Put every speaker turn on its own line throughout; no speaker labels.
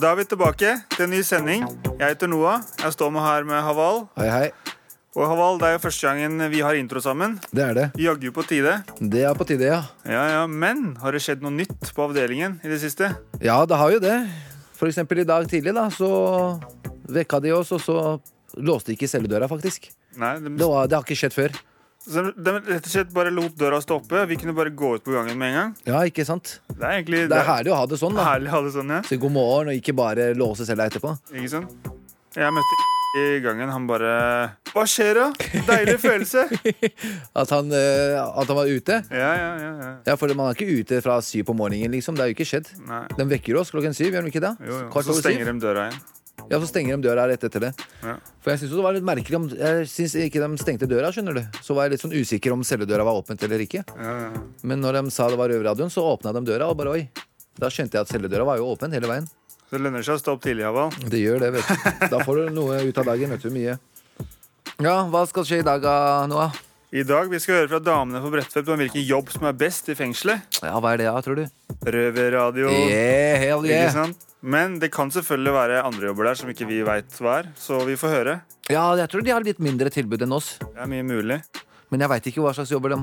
Da er vi tilbake til en ny sending. Jeg heter Noah. Jeg står med her med Haval.
Hei, hei.
Og Haval, det er jo første gangen vi har intro sammen.
Det er det.
Jaggu på tide.
Det er på tide, ja.
Ja, ja, Men har det skjedd noe nytt på avdelingen i det siste?
Ja, det har jo det. For eksempel i dag tidlig, da, så vekka de oss, og så låste de ikke celledøra, faktisk.
Nei, de,
Det, var, det har ikke skjedd før.
så de rett og slett bare lot døra stå oppe. Vi kunne bare gå ut på gangen med en gang.
Ja, ikke sant?
Det er egentlig
Det er herlig å ha det sånn, da.
herlig å ha det sånn, ja.
Så god morgen, og ikke bare låse cella etterpå.
Ikke sant? Jeg møtte i gangen. Han bare Hva skjer, da? Deilig følelse.
At han, eh, at han var ute.
Ja, ja, ja. ja.
Ja, for man er ikke ute fra syv på morgenen, liksom. Det er jo ikke skjedd.
Nei.
De vekker oss klokken syv, gjør de ikke det?
Jo, jo.
Kvart
Så
over syv.
stenger de døra igjen.
Ja, så stenger de døra rett etter det.
Ja.
For jeg syns det var litt merkelig om Jeg synes ikke de stengte døra, skjønner du. Så var jeg litt sånn usikker om celledøra var åpent eller ikke.
Ja, ja.
Men når de sa det var røverradioen, så åpna de døra, og bare oi. Da skjønte jeg at celledøra var jo åpen hele veien.
Så det lønner seg å stå opp tidlig, Haval.
Det gjør det, vet du. Da får du noe ut av dagen, vet du. Mye. Ja, hva skal skje i dag, da, Noah?
I dag vi skal høre fra damene på Bredtvet om hvilken jobb som er best i fengselet.
Ja, hva er det, da, tror du?
Røverradio.
Yeah, hell
Ikke
yeah.
sant? Men det kan selvfølgelig være andre jobber der som ikke vi veit hva er. Så vi får høre.
Ja, jeg tror de har litt mindre tilbud enn oss.
Det er mye mulig.
Men jeg veit ikke hva slags jobber de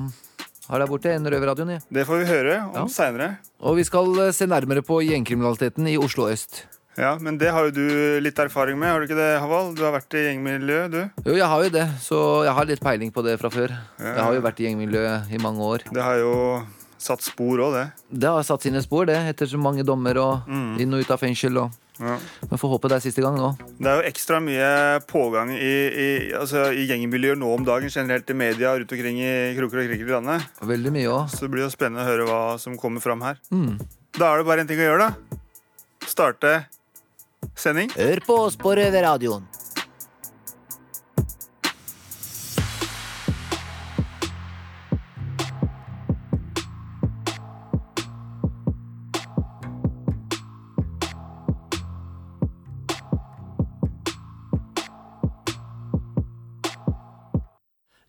har der borte enn røverradioen. jeg.
Det får vi høre
Ja.
om seinere.
Og vi skal eh, se nærmere på gjengkriminaliteten i Oslo øst.
Ja, men det har jo du litt erfaring med, har du ikke det, Haval? Du har vært i gjengmiljø, du.
Jo, jeg har jo det, så jeg har litt peiling på det fra før. Jeg har jo vært i gjengmiljøet i mange år.
Det har jo satt spor òg, det.
Det har satt sine spor, det, etter så mange dommer og inn og ut av fengsel. Og...
Ja.
Men får håpe det er siste gang nå.
Det er jo ekstra mye pågang i, i, altså, i gjengmiljøer nå om dagen, generelt i media rundt omkring i kroker og kriker i landet.
Veldig mye òg.
Så det blir jo spennende å høre hva som kommer fram her.
Mm.
Da er det bare én ting å gjøre, da. Starte sending.
Hør på oss på Røverradioen.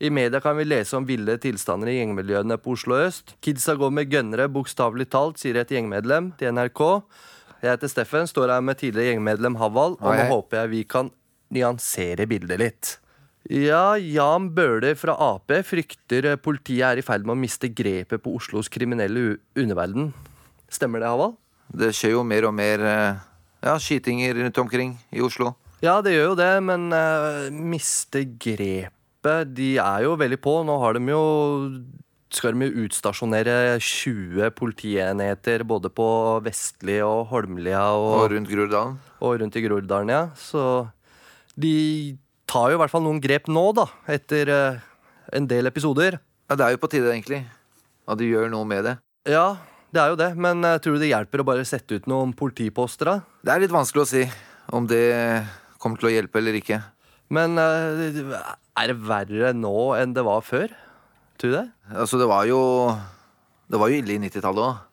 I media kan vi lese om ville tilstander i gjengmiljøene på Oslo øst. Kidsa går med gønnere, bokstavelig talt, sier et gjengmedlem til NRK. Jeg heter Steffen, står her med tidligere gjengmedlem Haval, og
Hei,
nå
hei.
håper jeg vi kan nyansere bildet litt. Ja, Jan Bøhler fra Ap frykter politiet er i ferd med å miste grepet på Oslos kriminelle u- underverden. Stemmer det, Haval?
Det skjer jo mer og mer eh, ja, skytinger rundt omkring i Oslo.
Ja, det gjør jo det, men eh, miste grepet De er jo veldig på. Nå har de jo skal de jo utstasjonere 20 politienheter både på Vestli og Holmlia og,
Og rundt Groruddalen.
og rundt i Groruddalen, ja. Så de tar jo i hvert fall noen grep nå, da, etter eh, en del episoder.
Ja, det er jo på tide, egentlig. At de gjør noe med det.
Ja, det er jo det, men eh, tror du det hjelper å bare sette ut noen politiposter, da?
Det er litt vanskelig å si om det kommer til å hjelpe eller ikke.
Men eh, er det verre nå enn det var før? Tror du det?
Altså, det var jo Det var jo ille i 90-tallet òg.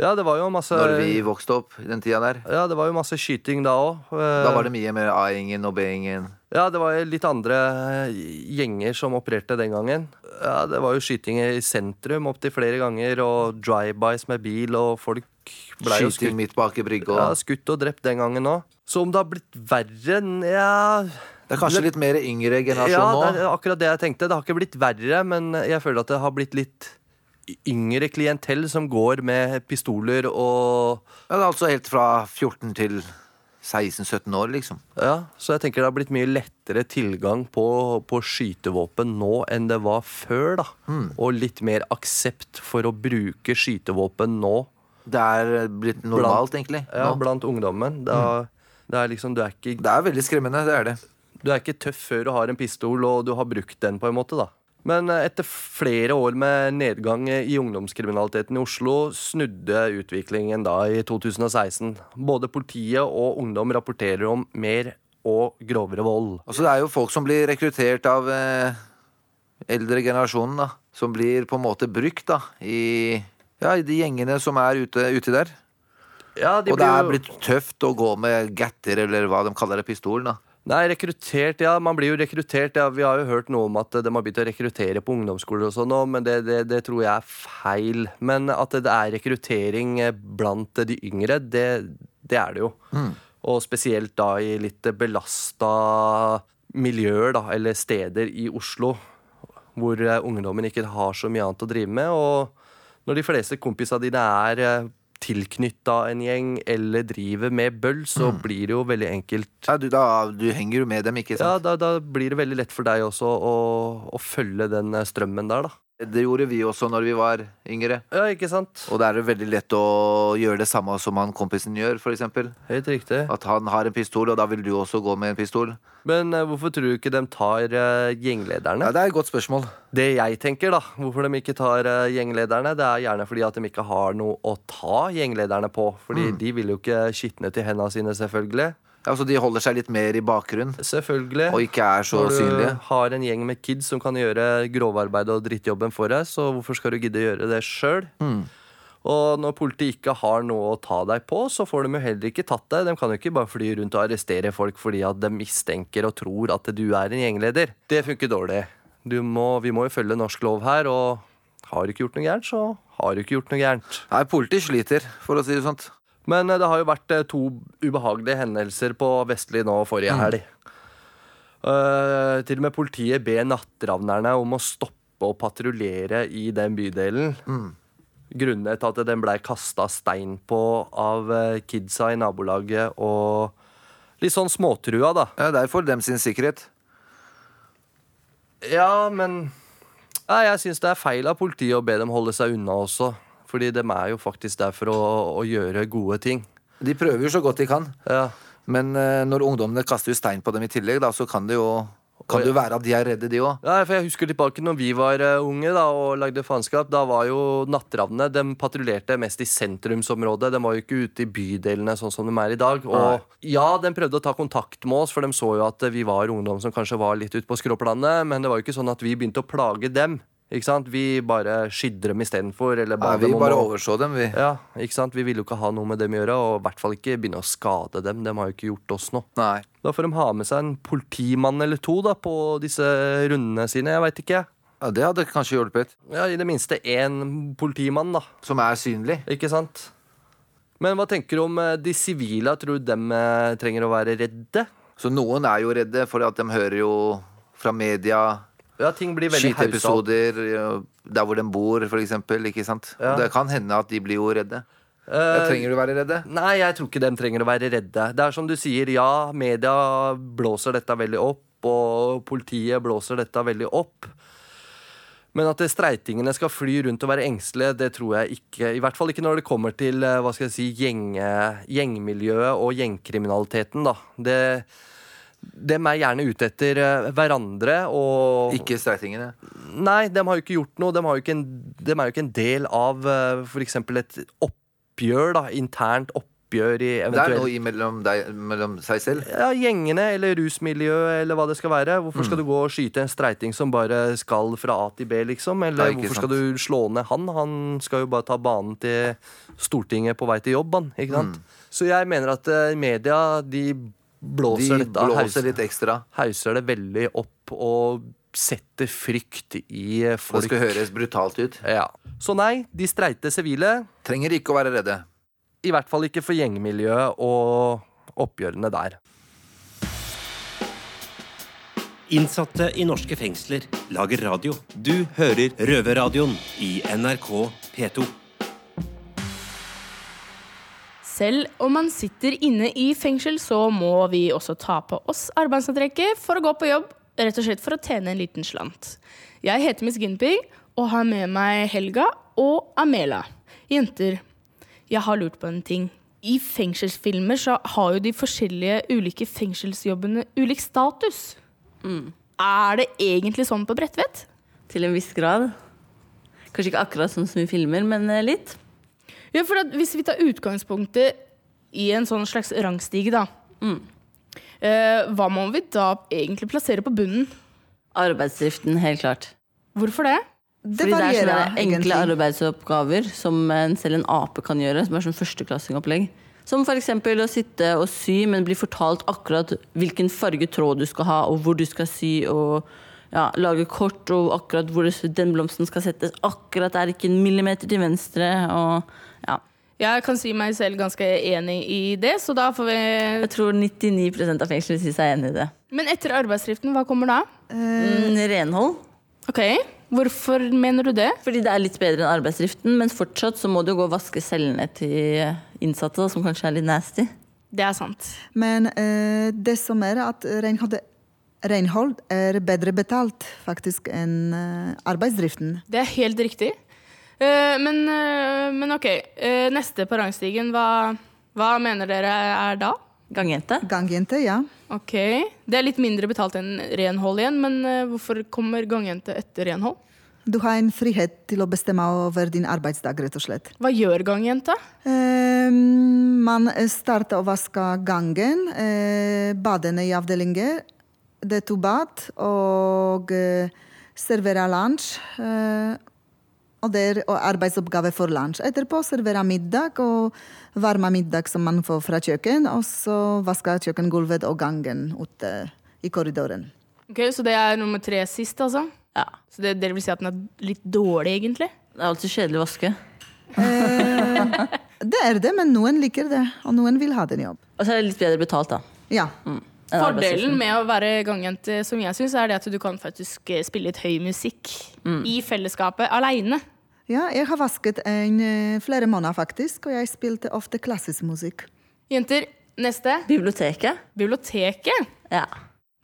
Ja, det var jo masse
Når vi vokste opp i den tida der.
Ja, det var jo masse skyting da òg.
Da var det mye mer A-gjengen og B-gjengen.
Ja, det var jo litt andre eh, gjenger som opererte den gangen. Ja, Det var jo skytinger i sentrum opptil flere ganger, og drive-bys med bil, og folk blei jo
Skyting
skutt,
midt bak i brygga.
ja, skutt og drept den gangen òg. Så om det har blitt verre Nja
det er kanskje litt mer yngre generasjon
Ja,
sånn nå.
det er akkurat det jeg tenkte. Det har ikke blitt verre, men jeg føler at det har blitt litt yngre klientell som går med pistoler og
Ja, det er altså helt fra 14 til 16-17 år, liksom.
Ja, så jeg tenker det har blitt mye lettere tilgang på, på skytevåpen nå enn det var før, da.
Hmm.
Og litt mer aksept for å bruke skytevåpen nå
Det er eh, blitt normalt, egentlig.
ja,
nå. Hmm.
blant ungdommen. Det er, det er liksom, du er, ikke,
Det er veldig skremmende, det er det.
du er ikke tøff før du har en pistol og du har brukt den, på en måte, da. Men eh, etter flere år med nedgang i ungdomskriminaliteten i Oslo snudde utviklingen da i 2016. Både politiet og ungdom rapporterer om mer og grovere vold.
Altså, det er jo folk som blir rekruttert av eh, eldre generasjonen, da. Som blir på en måte brukt, da, i, ja, i de gjengene som er ute, ute der.
Ja,
Og
de
det er
jo-
blitt tøft å gå med gatter, eller hva de kaller det, pistolen, da.
Nei, rekruttert, ja. Man blir jo rekruttert. Ja. Vi har jo hørt noe om at eh, de har begynt å rekruttere på ungdomsskoler og sånn nå, men det, det, det tror jeg er feil. Men at det er rekruttering eh, blant de yngre, det, det er det jo. Og spesielt da i litt belasta miljøer, da, eller steder i Oslo, hvor eh, ungdommen ikke har så mye annet å drive med. Og når de fleste kompisene dine er tilknytta en gjeng eller driver med bøll, så blir det jo veldig enkelt
Ja, du, da, du henger jo med dem, ikke
Ja,
sant?
da, da blir det veldig lett for deg også å, å følge den eh, strømmen der, da.
Det gjorde vi også når vi var yngre.
Ja, ikke sant?
Og da er det veldig lett å gjøre det samme som han kompisen gjør, for eksempel.
Helt riktig.
At han har en pistol, og da vil du også gå med en pistol.
Men eh, hvorfor tror du ikke de tar eh, gjenglederne?
Ja, det er et godt spørsmål.
Det jeg tenker, da, hvorfor de ikke tar eh, gjenglederne, det er gjerne fordi at de ikke har noe å ta gjenglederne på. Fordi
Mm.
de vil jo ikke skitne til hendene sine, selvfølgelig.
Ja, så de holder seg litt mer i bakgrunnen,
Selvfølgelig.
og ikke er så
Når du
synlige.
har en gjeng med kids som kan gjøre grovarbeidet og drittjobben for deg, så hvorfor skal du gidde å gjøre det sjøl? Og når politiet ikke har noe å ta deg på, så får de jo heller ikke tatt deg. De kan jo ikke bare fly rundt og arrestere folk fordi at de mistenker og tror at du er en gjengleder. Det funker dårlig. Du må, vi må jo følge norsk lov her, og har du ikke gjort noe gærent, så har du ikke gjort noe gærent.
Nei, politiet sliter, for å si det sånn. sånt.
Men eh, det har jo vært eh, to ubehagelige hendelser på Vestli nå forrige helg. Eh, til og med politiet ber nattravnerne om å stoppe å patruljere i den bydelen. Grunnet til at den blei kasta stein på av eh, kidsa i nabolaget og litt sånn småtrua, da.
Ja, det er for dem sin sikkerhet.
Ja, men Nei, Jeg syns det er feil av politiet å be dem holde seg unna også. Fordi de er jo faktisk der for å, å gjøre gode ting.
De prøver jo så godt de kan,
Ja.
men eh, når ungdommene kaster jo stein på dem i tillegg, da, så kan det jo kan det jo være at de er redde, de òg.
Nei, for jeg husker tilbake når vi var eh, unge da, og lagde faenskap. Da var jo nattravnene De patruljerte mest i sentrumsområdet. De var jo ikke ute i bydelene sånn som de er i dag. Og ja, de prøvde å ta kontakt med oss, for de så jo at eh, vi var ungdom som kanskje var litt ute på skråplanet. Men det var jo ikke sånn at vi begynte å plage dem. Ikke sant? Vi bare skydde dem istedenfor. Eller ba
Vi
dem om
bare
å-
overså dem, vi.
Ja, ikke sant? Vi ville jo ikke ha noe med dem å gjøre, og i hvert fall ikke begynne å skade dem. De har jo ikke gjort oss noe.
Nei.
Da får de ha med seg en politimann eller to da, på disse rundene sine. Jeg veit ikke.
Ja, det hadde kanskje hjulpet.
Ja, I det minste én politimann, da.
Som er synlig.
Ikke sant? Men hva tenker du om eh, de sivile? Tror du dem eh, trenger å være redde?
Så noen er jo redde, for at de hører jo fra media
Ja, ting blir veldig haussa opp.
skyteepisoder ja, der hvor de bor, for eksempel. Ikke sant?
Ja.
Det kan hende at de blir jo redde.
Eh,
Jeg trenger du være redde?
Nei, jeg tror ikke dem trenger å være redde. Det er som du sier, ja, media blåser dette veldig opp, og politiet blåser dette veldig opp. Men at det streitingene skal fly rundt og være engstelige, det tror jeg ikke. I hvert fall ikke når det kommer til eh, hva skal jeg si, gjeng, gjengmiljøet og gjengkriminaliteten. da. Det, dem er gjerne ute etter eh, hverandre og
Ikke streitingene.
Nei, de har jo ikke gjort noe. De, har jo ikke en, dem er jo ikke en del av eh, for eksempel et oppgjør, da. Internt oppgjør i
Det er
eventuelt
noe imellom deg, mellom seg selv.
ja, gjengene eller rusmiljøet eller hva det skal være. Hvorfor
Mm.
skal du gå og skyte en streiting som bare skal fra A til B, liksom? Eller
Ja, ikke
hvorfor
sant.
skal du slå ned han? Han skal jo bare ta banen til Stortinget på vei til jobb, han. Ikke
Mm.
sant? Så jeg mener at eh, media, de
De
blåser dette av
blåser litt ekstra.
hauser det veldig opp og setter frykt i eh,
Det
folk.
skal høres brutalt ut.
Ja. Så nei, de streite sivile,
Trenger ikke å være redde.
i hvert fall ikke for gjengmiljøet og oppgjørene der.
Innsatte i norske fengsler lager radio. Du hører Røverradioen i NRK P2.
Selv om man sitter inne i fengsel, så må vi også ta på oss arbeidsantrekket for å gå på jobb, rett og slett for å tjene en liten slant. Jeg heter Miss Ginping og har med meg Helga og Amela. Jenter, jeg har lurt på en ting. I fengselsfilmer så har jo de forskjellige ulike fengselsjobbene ulik status. Er det egentlig sånn på Bredtvet?
Til en viss grad. Kanskje ikke akkurat sånn som i filmer, men eh, litt.
Ja, for at hvis vi tar utgangspunktet i en sånn slags rangstige, da. Eh, hva må vi da egentlig plassere på bunnen?
Arbeidsdriften, helt klart.
Hvorfor det?
Det
Fordi det er
varierer,
sånne enkle
egentlig.
arbeidsoppgaver som eh, en, selv en ape kan gjøre, som er sånn førsteklassingopplegg. Som f.eks. å sitte og sy, men bli fortalt akkurat hvilken farge tråd du skal ha, og hvor du skal sy, og ja, lage kort, og akkurat hvor det- den blomsten skal settes. Akkurat er ikke en millimeter til venstre, og ja.
Jeg kan si meg selv ganske enig i det, så da får vi
Jeg tror 99 av fengsler sier seg enig i det.
Men etter arbeidsdriften, hva kommer da?
Mm, renhold.
Ok, Hvorfor mener du det?
Fordi det er litt bedre enn arbeidsdriften, men fortsatt så må du gå og vaske cellene til innsatte, da, som kanskje er litt nasty.
Det er sant.
Men eh, det som er at renhold, renhold er bedre betalt faktisk enn eh, arbeidsdriften.
Det er helt riktig. Eh, men, eh, men ok, eh, neste på rangstigen, hva, hva mener dere er da?
Gangjente.
Gangjente, ja.
Ok, Det er litt mindre betalt enn renhold igjen, men eh, hvorfor kommer gangjente etter renhold?
Du har en frihet til å bestemme over din arbeidsdag, rett og slett.
Hva gjør gangjente?
Eh, man starter å vaske gangen, eh, badene i avdelinger. Det er to bad, og eh, serverer lunsj. Eh, og det er og arbeidsoppgave for lunsj. Etterpå serverer middag og varme middag som man får fra kjøkken. Og så vasker kjøkkengulvet og gangen ute i korridoren.
Ok, Så det er nummer tre sist, altså?
Ja.
Så det, dere vil si at den er litt dårlig, egentlig?
Det er alltid kjedelig å vaske.
Det er det, men noen liker det, og noen vil ha den jobb.
Og så er det litt bedre betalt, da.
Ja.
enn
Fordelen
arbeidsdriften.
med å være gangjente, som jeg syns, er det at du kan faktisk eh, spille litt høy musikk i fellesskapet aleine.
ja jeg har vasket en eh, flere måneder, faktisk, og jeg spilte ofte klassisk musikk.
Jenter, neste.
Biblioteket.
Biblioteket.
Ja.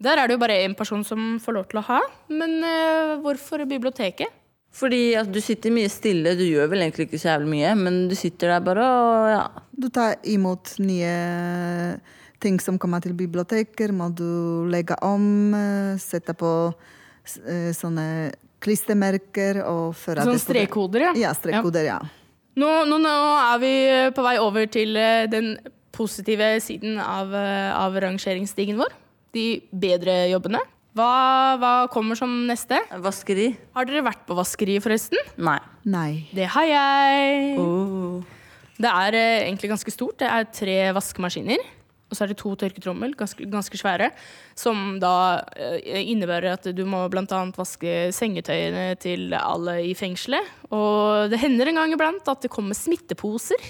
Der er det jo bare én person som får lov til å ha. Men eh, hvorfor biblioteket?
Fordi at du sitter mye stille, du gjør vel egentlig ikke så jævlig mye, men du sitter der bare og ja.
Du tar imot nye ting som kommer til biblioteker, må du legge om, eh, sette på s- eh, sånne klistremerker og føre
Sånne
til student-
Sånn strekkoder, ja.
Ja, strekkoder, ja.
Nå, nå, nå er vi eh, på vei over til eh, den positive siden av, eh, av rangeringsstigen vår. De bedre jobbene. Hva, hva kommer som neste?
Vaskeri.
Har dere vært på vaskeri, forresten?
Nei.
Nei.
Det har jeg.
Oh.
Det er eh, egentlig ganske stort. Det er tre vaskemaskiner. Og så er det to tørketrommel, ganske, ganske svære, som da eh, innebærer at du må bl.a. vaske sengetøyene til alle i fengselet. Og det hender en gang iblant at det kommer smitteposer.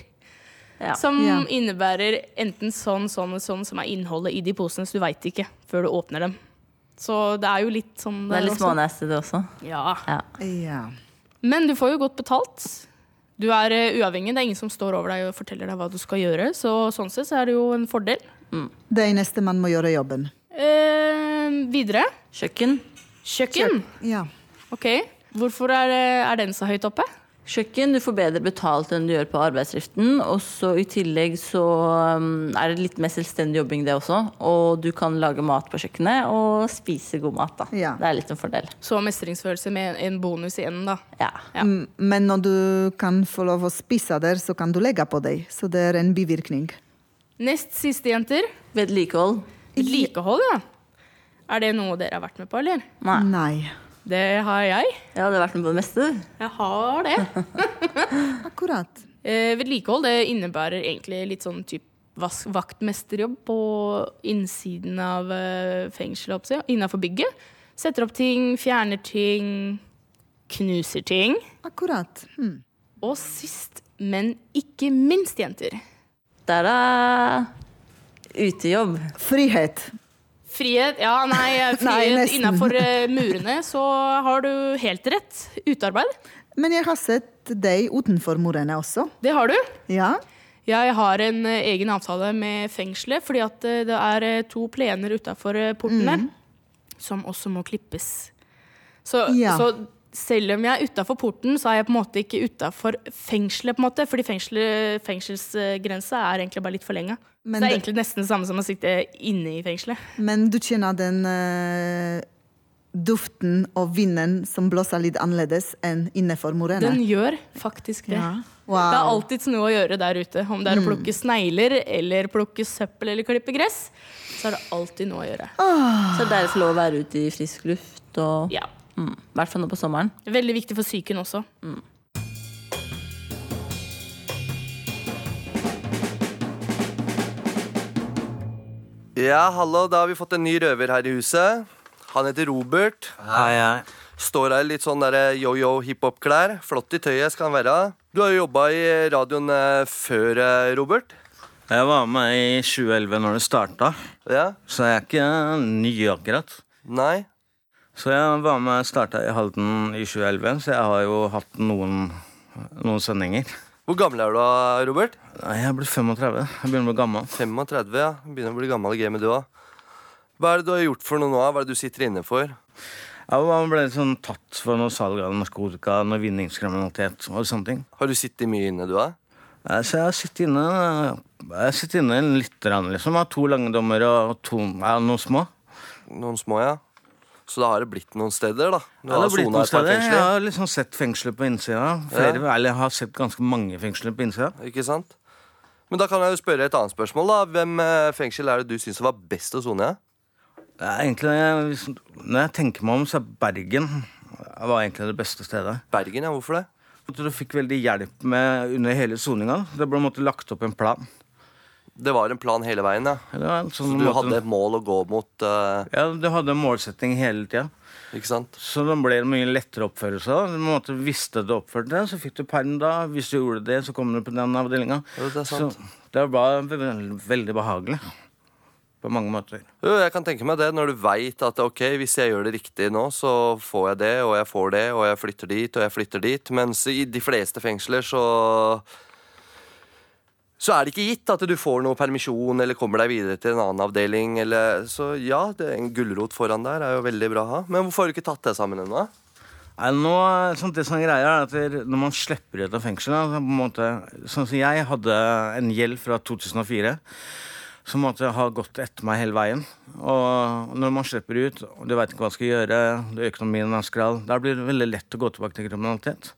Ja.
Som
Ja.
innebærer enten sånn, sånn og sånn som er innholdet i de posene, så du veit ikke før du åpner dem. Så det er jo litt sånn
Det er
der
litt
også.
smånasty, det også.
Ja.
Ja.
Ja.
Men du får jo godt betalt. Du er eh, uavhengig, det er ingen som står over deg og forteller deg hva du skal gjøre. Så sånn sett så er det jo en fordel.
Det eneste man må gjøre jobben.
Eh, videre.
Kjøkken.
Kjøkken.
Ja.
Ok. Hvorfor er, eh, er den så høyt oppe?
Kjøkken, du får bedre betalt enn du gjør på arbeidsdriften. Og så i tillegg så um, er det litt mer selvstendig jobbing, det også. Og du kan lage mat på kjøkkenet og spise god mat, da.
Ja.
Det er litt en fordel.
Så mestringsfølelse med en- en bonus i enden, da.
Ja.
Ja.
M- Men når du kan få lov å spise der, så kan du legge på deg. Så det er en bivirkning.
Nest siste, jenter.
Vedlikehold.
Vedlikehold, ja. Er det noe dere har vært med på, eller?
Nei.
Nei.
Det har jeg.
Ja, det har vært med på det meste.
Jeg har det.
Akkurat.
Eh, vedlikehold det innebærer egentlig litt sånn typ vas- vaktmesterjobb på innsiden av eh, fengselet, oppsett, innenfor bygget. Setter opp ting, fjerner ting, knuser ting.
Akkurat. Hm.
Og sist, men ikke minst, jenter.
Der er utejobb.
Frihet.
Frihet Ja, nei,
Nei,
frihet
nesten.
innenfor eh, murene, så har du helt rett. Utearbeid.
Men jeg har sett deg utenfor murene også.
Det har du.
Ja.
Jeg har en eh, egen avtale med fengselet, fordi at eh, det er eh, to plener utafor porten der
Mm.
som også må klippes. Så,
Ja.
så selv om jeg er utafor porten, så er jeg på en måte ikke utafor fengselet, på en måte, fordi fengsel, fengselsgrensa er egentlig bare litt forlenga. Så
Men
det er
det-
egentlig nesten det samme som å sitte inne i fengselet.
Men du kjenner den eh, duften og vinden som blåser litt annerledes enn innenfor murene?
Den gjør faktisk det. Det er
Wow. Mm.
alltids noe å gjøre der ute. Om det er å plukke snegler, eller plukke søppel, eller klippe gress, så er det alltid noe å gjøre.
Så det er derfor lov å være ute i frisk luft og
Ja.
mm, I hvert fall nå på sommeren.
Veldig viktig for psyken også.
Ja, hallo, da har vi fått en ny røver her i huset. Han heter Robert.
Hei, hei.
Står her i litt sånn derre yo-yo hiphop-klær. Flott i tøyet skal han være. Du har jo jobba i radioen eh, før, eh, Robert.
Jeg var med i 2011 når det starta,
Ja?
så jeg er ikke ny akkurat.
Nei?
Så jeg var med starta i Halden i 2011, så jeg har jo hatt noen, noen sendinger.
Hvor gammel er du da, Robert?
Nei, Jeg er blitt 35. Jeg begynner å bli gammel.
35, ja. Begynner å bli gammel i gamet, du òg. Hva er det du har gjort for noe nå? Hva er det du sitter inne for?
Jeg var- ble sånn tatt for noe salg av narkotika, noe vinningskriminalitet og sånne ting.
Har du sittet mye inne, du òg?
Eh, Så jeg har sittet inne, jeg sitter inne litt, grann, liksom. Jeg har to lange dommer og to, ja, noen små.
Noen små, ja. Så da har det blitt noen steder, da. Du
Ja, det har
har
blitt
sonet
noen
et par
steder. Jeg
fengsler,
har liksom sett fengsler på innsida. Flere, Eller jeg har sett ganske mange fengsler på innsida.
Ikke sant? Men da kan jeg jo spørre et annet spørsmål, da. Hvem eh, fengsel er det du syns var best å sone i?
Det er egentlig, hvis- Når jeg tenker meg om, så er Bergen var egentlig det beste stedet.
Bergen, ja. Hvorfor det?
Jeg tror Du fikk veldig hjelp med under hele soninga. Det ble på en måte lagt opp en plan.
Det var en plan hele veien, ja.
Det var en
Så
sånn
du
måte-
hadde et mål å gå mot, eh,
Ja, du hadde en målsetting hele tida.
ikke sant?
Så det ble en mye lettere oppførelse. da. Du på en måte visste du oppførte deg, så fikk du perm da. Hvis du gjorde det, så kom du på den avdelinga.
Ja, det er sant.
Så det var ve- ve- veldig behagelig. På mange måter.
Jo, jeg kan tenke meg det når du veit at ok, hvis jeg gjør det riktig nå, så får jeg det, og jeg får det, og jeg flytter dit, og jeg flytter dit. Mens i de fleste fengsler så så er det ikke gitt at du får noe permisjon eller kommer deg videre til en annen avdeling. Eller, så ja, det er en gulrot foran der er jo veldig bra å ha. Men hvorfor har du ikke tatt det sammen ennå?
Nei, nå, sånn, det som er greia er at det- Når man slipper ut av fengselet så på en måte, Sånn som jeg hadde en gjeld fra 2004 som måtte ha gått etter meg hele veien. Og når man slipper ut, og du veit ikke hva du skal gjøre, du- økonomien er skral Da blir det veldig lett å gå tilbake til kriminalitet.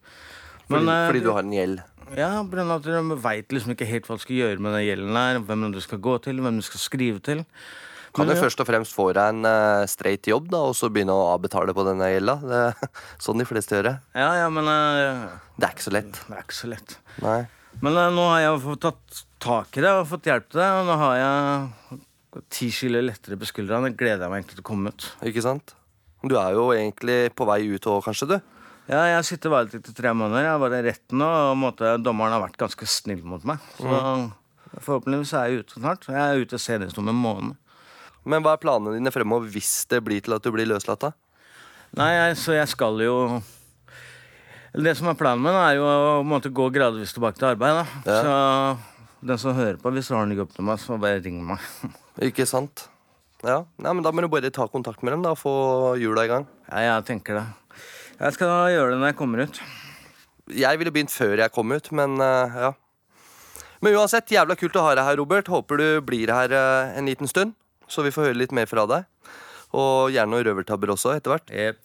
Fordi,
eh,
fordi du har en gjeld.
Ja, på grunn av at du veit liksom ikke helt hva du skal gjøre med den gjelden her. Hvem du skal gå til, hvem du skal skrive til.
Kan
Men
du
ja.
først og fremst få deg en eh, straight jobb, da, og så begynne å avbetale på denne gjelda? Det er sånn de fleste gjør det.
Ja, ja, men eh,
Det er ikke så lett.
det er ikke så lett.
Nei.
Men eh, nå har jeg fått tatt tak i det og fått hjelp til det. Og nå har jeg ti kilo lettere på skuldrene. Det gleder jeg meg egentlig til å komme ut.
Ikke sant? Du er jo egentlig på vei ut òg, kanskje, du?
Ja, Jeg sitter varetekt i tre måneder. Jeg var i retten, og på en måte, dommeren har vært ganske snill mot meg. Så forhåpentligvis er jeg ute snart. Jeg er ute senest om en måned.
Men hva er planene dine fremover hvis det blir til at du blir løslatt, da?
Nei, jeg, så jeg skal jo Det som er planen min, er jo å på en måte, gå gradvis tilbake til arbeid. da Så den som hører på, hvis du har noe jobb til meg, så bare ring meg.
Ikke sant? Ja, Nei, men Da må du bare ta kontakt med dem da, og få hjula i gang.
Ja, jeg tenker det. Jeg skal gjøre det når jeg kommer ut.
Jeg ville begynt før jeg kom ut, men eh, ja. Men uansett, jævla kult å ha deg her, Robert. Håper du blir her eh, en liten stund, så vi får høre litt mer fra deg. Og gjerne noen røvertabber også, etter hvert.
Jepp.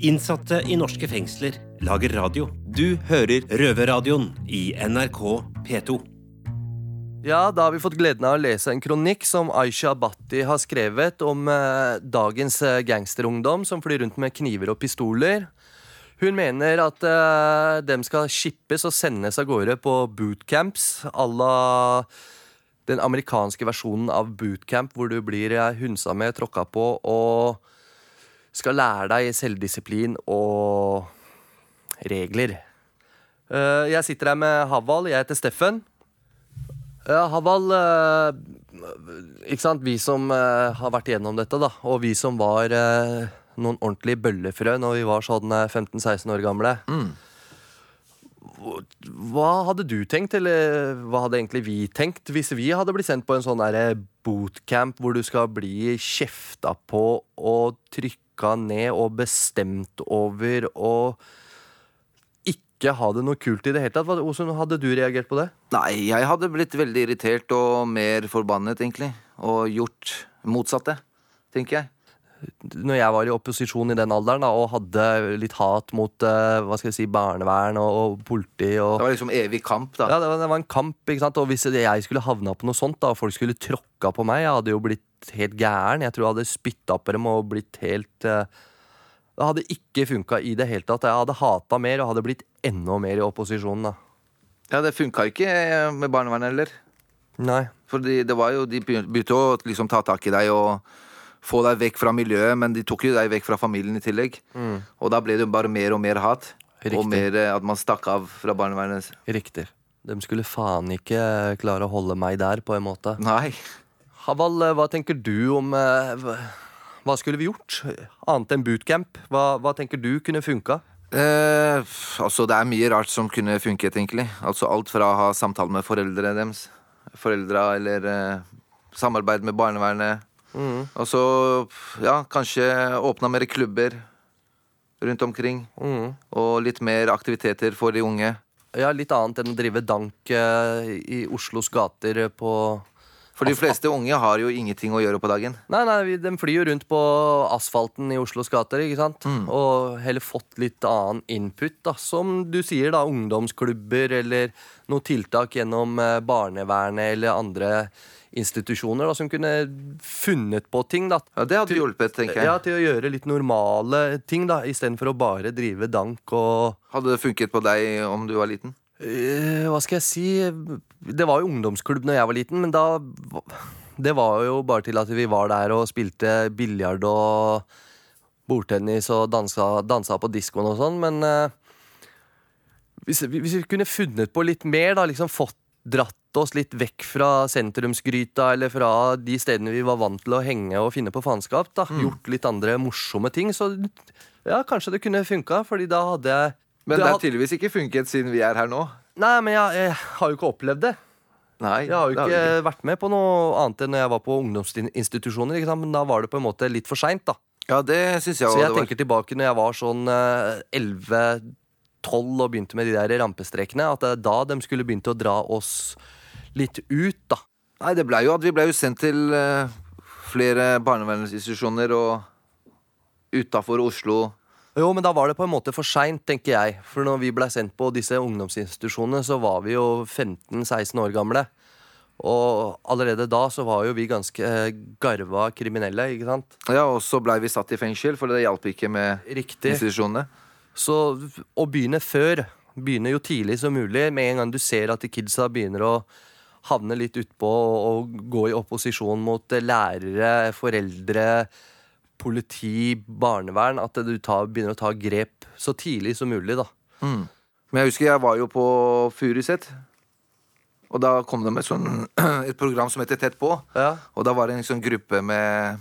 Innsatte i norske fengsler lager radio. Du hører Røverradioen i NRK P2.
Ja, da har vi fått gleden av å lese en kronikk som Aisha Bhatti har skrevet om eh, dagens eh, gangsterungdom som flyr rundt med kniver og pistoler. Hun mener at eh, dem skal shippes og sendes av gårde på bootcamps à la den amerikanske versjonen av bootcamp, hvor du blir eh, hunsa med, tråkka på og skal lære deg selvdisiplin og regler. Eh, jeg sitter her med Haval. Jeg heter Steffen. Ja, Haval, eh, ikke sant? vi som eh, har vært igjennom dette, da, og vi som var eh, noen ordentlige bøllefrø når vi var sånn eh, 15-16 år gamle Hva- Hva hadde du tenkt, eller hva hadde egentlig vi tenkt, hvis vi hadde blitt sendt på en sånn derre bootcamp hvor du skal bli kjefta på og trykka ned og bestemt over og ikke ha det noe kult i det hele tatt? Hva- Hvordan hadde du reagert på det?
Nei, jeg hadde blitt veldig irritert og mer forbannet, egentlig. Og gjort motsatte, tenker jeg.
når jeg var i opposisjon i den alderen da, og hadde litt hat mot eh, hva skal jeg si, barnevern og, og politi
Det
og
var liksom evig kamp, da.
ja, det, var, det var en kamp, ikke sant? og hvis jeg skulle havna på noe sånt, da, og folk skulle tråkka på meg, jeg hadde jo blitt helt gæren. Jeg tror jeg hadde spytta på dem og blitt helt eh, Det hadde ikke funka i det hele tatt. Jeg hadde hata mer og hadde blitt enda mer i opposisjonen. da.
Ja, Det funka ikke eh, med barnevernet heller.
Nei.
Fordi det var jo, De begyn- begynte å liksom ta tak i deg og få deg vekk fra miljøet, men de tok jo deg vekk fra familien i tillegg. Og da ble det jo bare mer og mer hat.
Riktig.
Og mer eh, at man stakk av fra barnevernet.
Riktig. De skulle faen ikke klare å holde meg der, på en måte.
Nei.
Haval, eh, hva tenker du om eh, hva- Hva skulle vi gjort? Annet enn bootcamp. Hva, hva tenker du kunne funka?
Eh, f- altså, det er mye rart som kunne funket, egentlig. Altså alt fra å ha samtale med foreldrene deres, foreldra, eller eh, samarbeid med barnevernet. Og så, f- ja, kanskje åpna mer klubber rundt omkring. Og litt mer aktiviteter for de unge.
Ja, litt annet enn å drive dank eh, i Oslos gater på
For de fleste unge har jo ingenting å gjøre på dagen.
Nei, nei, vi- de flyr jo rundt på asfalten i Oslos gater, ikke sant? Og heller fått litt annen input, da. Som du sier, da, ungdomsklubber eller noe tiltak gjennom eh, barnevernet eller andre institusjoner da, som kunne funnet på ting, da.
Ja, Det hadde hjulpet, tenker
Ja,
jeg.
til å gjøre litt normale ting, da, istedenfor å bare drive dank og
Hadde det funket på deg om du var liten?
Eh, hva skal jeg si Det var jo ungdomsklubb når jeg var liten, men da Det var jo bare til at vi var der og spilte biljard og bordtennis og dansa, dansa på diskoen og sånn, men eh, hvis, hvis vi kunne funnet på litt mer, da, liksom fått dratt oss litt vekk fra sentrumsgryta eller fra de stedene vi var vant til å henge og finne på faenskap, da,
Mm.
gjort litt andre morsomme ting, så ja, kanskje det kunne funka, fordi da hadde jeg
Men
da
det har
had-
tydeligvis ikke funket siden vi er her nå.
Nei, men jeg, jeg har jo ikke opplevd det.
Nei,
Jeg har jo
det
ikke
vi
vært med på noe annet enn når jeg var på ungdomsinstitusjoner. Ikke sant? Men da var det på en måte litt for seint, da.
Ja, det syns jeg
Så
også
jeg
det var.
tenker tilbake når jeg var sånn eh, 11-12 og begynte med de der rampestrekene, at det er da de skulle begynt å dra oss litt ut, da.
Nei, det blei jo at vi blei jo sendt til eh, flere barnevernsinstitusjoner og utafor Oslo.
Jo, men da var det på en måte for seint, tenker jeg. For når vi blei sendt på disse ungdomsinstitusjonene, så var vi jo 15-16 år gamle. Og allerede da så var jo vi ganske eh, garva kriminelle, ikke sant?
Ja, og så blei vi satt i fengsel, for det hjalp ikke med
Riktig.
institusjonene.
Så å begynne før, begynne jo tidlig som mulig, med en gang du ser at de kidsa begynner å havne litt utpå og, og gå i opposisjon mot eh, lærere, foreldre, politi, barnevern, at du tar, begynner å ta grep så tidlig som mulig, da.
Men jeg husker jeg var jo på Furuset, og da kom det med sånn, et program som heter Tett på.
Ja.
Og da var det en sånn gruppe med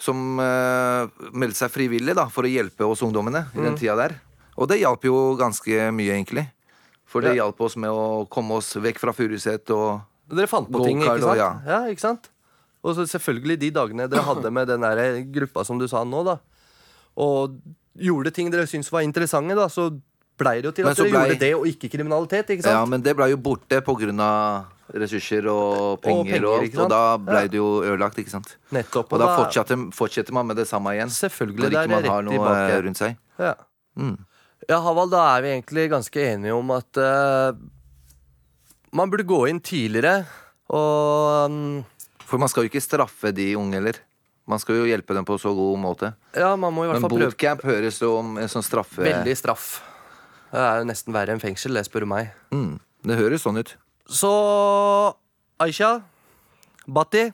Som eh, meldte seg frivillig da, for å hjelpe oss ungdommene i
Mm.
den tida der. Og det hjalp jo ganske mye, egentlig. For det hjalp oss med å komme oss vekk fra Furuset og
Dere fant på
Go-kart
ting, ikke
og
sant?
ja.
ja, ikke sant? Og så selvfølgelig de dagene dere hadde med den der eh, gruppa som du sa nå, da. Og gjorde ting dere syntes var interessante, da, så blei det jo til
Men
at
så
dere
blei-
gjorde det, og ikke kriminalitet, ikke sant?
Ja, men det blei jo borte pga. ressurser og penger og,
penger,
alt.
ikke
Og
sant?
da blei
Ja.
det jo ødelagt, ikke sant.
Nettopp.
Og da fortsetter, fortsetter man med det samme igjen.
Selvfølgelig,
Når
det er
ikke man
rett
har noe
tilbake.
eh, rundt seg.
Ja.
Mm.
ja, Havald, da er vi egentlig ganske enige om at eh, man burde gå inn tidligere. Og mm,
For man skal jo ikke straffe de unge heller. Man skal jo hjelpe dem på så god måte.
ja, man må i hvert
Men
fall prøve
bootcamp høres jo om en sånn straffe...
veldig straff. Det er jo nesten verre enn fengsel, det spør du meg.
Mm. Det høres sånn ut.
Så Aisha, Batti.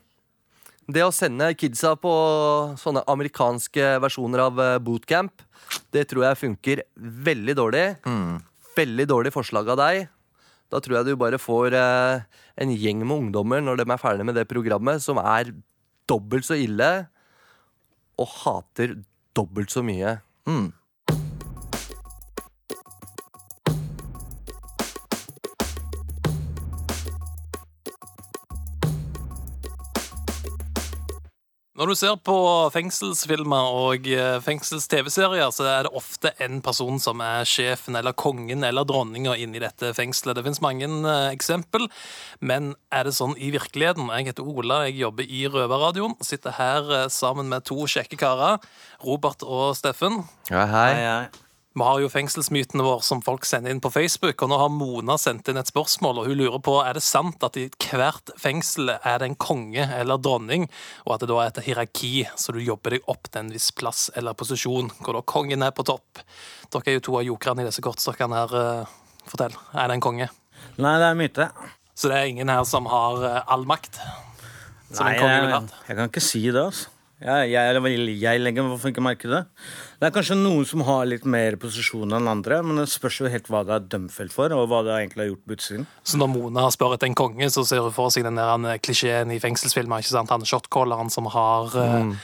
Det å sende kidsa på sånne amerikanske versjoner av eh, bootcamp, det tror jeg funker veldig dårlig. Veldig dårlig forslag av deg. Da tror jeg du bare får eh, en gjeng med ungdommer når de er ferdige med det programmet, som er dobbelt så ille og hater dobbelt så mye.
Mm.
Når du ser på fengselsfilmer og eh, fengsels-TV-serier, så er det ofte en person som er sjefen eller kongen eller dronninga inni dette fengselet. Det fins mange eh, eksempel, men er det sånn i virkeligheten? Jeg heter Ola, jeg jobber i Røverradioen. Sitter her eh, sammen med to kjekke karer, Robert og Steffen.
Ja, hei.
Vi har jo fengselsmytene våre som folk sender inn på Facebook, og nå har Mona sendt inn et spørsmål, og hun lurer på er det sant at i hvert fengsel er det en konge eller dronning, og at det da er et hierarki, så du jobber deg opp til en viss plass eller posisjon, hvor da kongen er på topp. Dere er jo to av jokerne i disse kortstokkene her. eh, Fortell. Er det en konge?
Nei, det er myte.
Så det er ingen her som har eh, all makt. Som en konge
jeg,
ville hatt.
jeg kan ikke si det, altså. Jeg, jeg, jeg legger i hvert fall ikke merke til det. Det er kanskje noen som har litt mer posisjon enn andre, men det spørs jo helt hva det er dømfelt for, og hva det egentlig har gjort på utsiden.
Så når Mona spør etter en konge, så ser hun for seg den der han, eh, klisjeen i fengselsfilmer. ikke sant? Han er shotcalleren som har eh, Han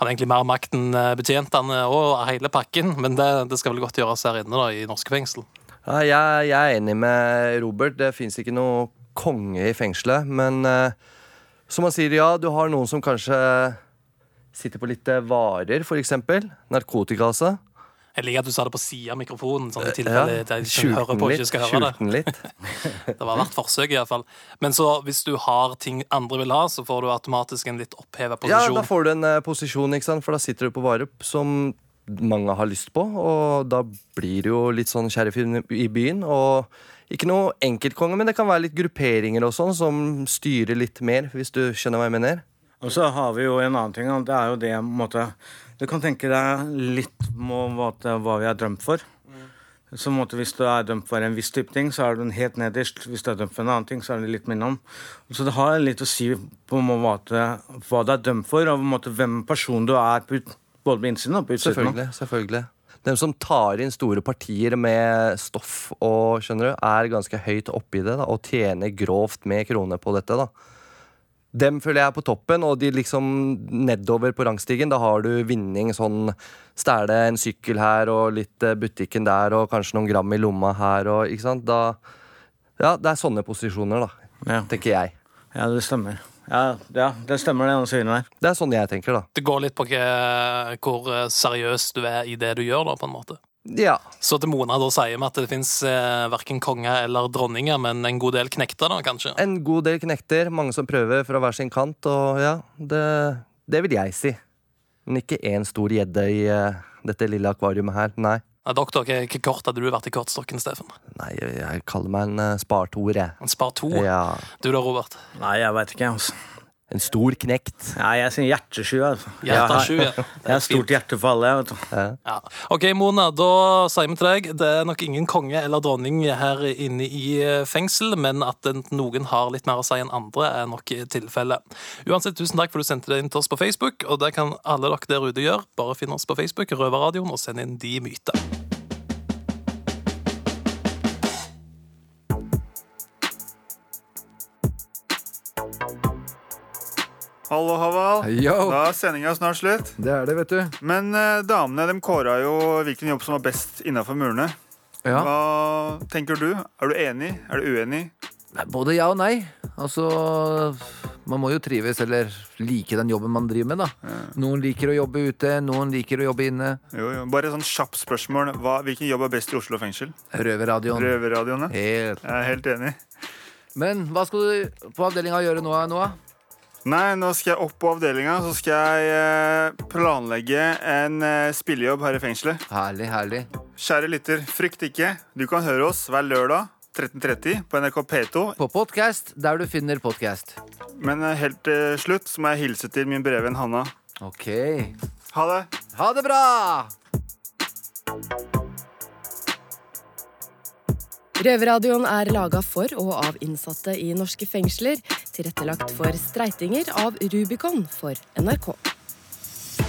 har egentlig mer makt enn eh, betjentene og hele pakken, men det, det skal vel godt gjøres her inne da, i norske fengsel.
Ja, jeg, jeg er enig med Robert. Det fins ikke noe konge i fengselet. Men eh, som han sier, ja, du har noen som kanskje sitter på litt eh, varer, f.eks. Narkotika, altså.
Jeg liker at du sa det på siden av mikrofonen, sånn i
Eh, Ja,
tilfelle de som
skjulte
hører
den
på,
litt,
ikke skal høre det.
skjulte den litt.
Det var verdt forsøket, iallfall. Men så, hvis du har ting andre vil ha, så får du automatisk en litt oppheva
Ja,
posisjon.
da får du en eh, posisjon, ikke sant? for da sitter du på varer som mange har lyst på. Og da blir du jo litt sånn sheriff i i byen. Og ikke noe enkeltkonge, men det kan være litt grupperinger og sånn som styrer litt mer, hvis du skjønner hva jeg mener.
Og så har vi jo en annen ting, og det er jo det på en måte, Du kan tenke deg litt må, hva, hva vi er dømt for.
Mm.
Så på en måte, Hvis du er dømt for en viss type ting, så er du den helt nederst. Hvis du er dømt for en annen ting, så er du litt minnom. Så det har litt å si på en måte, hva du er dømt for, og på en måte, hvem person du er, på, ut- både på innsiden og på utsiden.
Selvfølgelig. selvfølgelig Dem som tar inn store partier med stoff og skjønner du, er ganske høyt oppi det da, og tjener grovt med kroner på dette. da Dem føler jeg er på toppen, og de liksom nedover på rangstigen. Da har du vinning sånn stjele en sykkel her og litt eh, butikken der og kanskje noen gram i lomma her og ikke sant. Da, ja, det er sånne posisjoner, da,
Ja.
tenker jeg.
ja, det stemmer. Ja, ja, det stemmer, det han sier der.
Det er sånn jeg tenker, da.
Det går litt på hva- hvor eh, seriøs du er i det du gjør, da, på en måte.
Ja.
Så til Mona da sier vi at det fins eh, verken konger eller dronninger, men en god del knekter, da, kanskje.
En god del knekter, mange som prøver fra hver sin kant, og ja, det, det vil jeg si. Men ikke én stor gjedde i eh, dette lille akvariet her, nei.
Ja, doktor, hva hva kort hadde du vært i kortstokken, Steffen?
Nei, jeg, jeg kaller meg en eh, spartoer, jeg.
En spar to.
Ja.
Du da, Robert?
Nei, jeg veit ikke, altså.
En stor knekt.
Nei, jeg sier hjertesju. Altså. Jeg har-
Hjertasju, ja.
Jeg har stort hjertefall, jeg. vet du.
Ja. OK, Mona, da sier vi til deg det er nok ingen konge eller dronning her inne i eh, fengsel, men at den- noen har litt mer å si enn andre, er nok tilfellet. Uansett, tusen takk for at du sendte det inn til oss på Facebook, og det kan alle dere der ute gjøre. Bare finn oss på Facebook, Røverradioen, og send inn de myter.
Hallo, Haval.
Yo.
Da er sendinga snart slutt.
Det er det, vet du.
Men eh, damene de kåra jo hvilken jobb som var best innafor murene.
Ja.
Hva tenker du? Er du enig? Er du uenig?
Nei, Både ja og nei. Altså, man må jo trives eller like den jobben man driver med, da. Noen liker å jobbe ute, noen liker å jobbe inne.
Jo, jo. Bare et sånn kjapt spørsmål. Hva, hvilken jobb er best i Oslo fengsel?
Røverradioen.
Røverradioene?
Helt.
Jeg er helt enig.
Men hva skal du på avdelinga gjøre nå, Noah?
Nei, nå skal jeg opp på avdelinga, så skal jeg eh, planlegge en eh, spillejobb her i fengselet.
Herlig, herlig.
Kjære lytter, frykt ikke. Du kan høre oss hver lørdag 13.30 på NRK P2.
På podkast der du finner podkast.
Men eh, helt til slutt så må jeg hilse til min brevvenn Hanna.
OK.
Ha det!
Ha det bra!
Røverradioen er laga for og av innsatte i norske fengsler. Tilrettelagt for streitinger av Rubicon for NRK.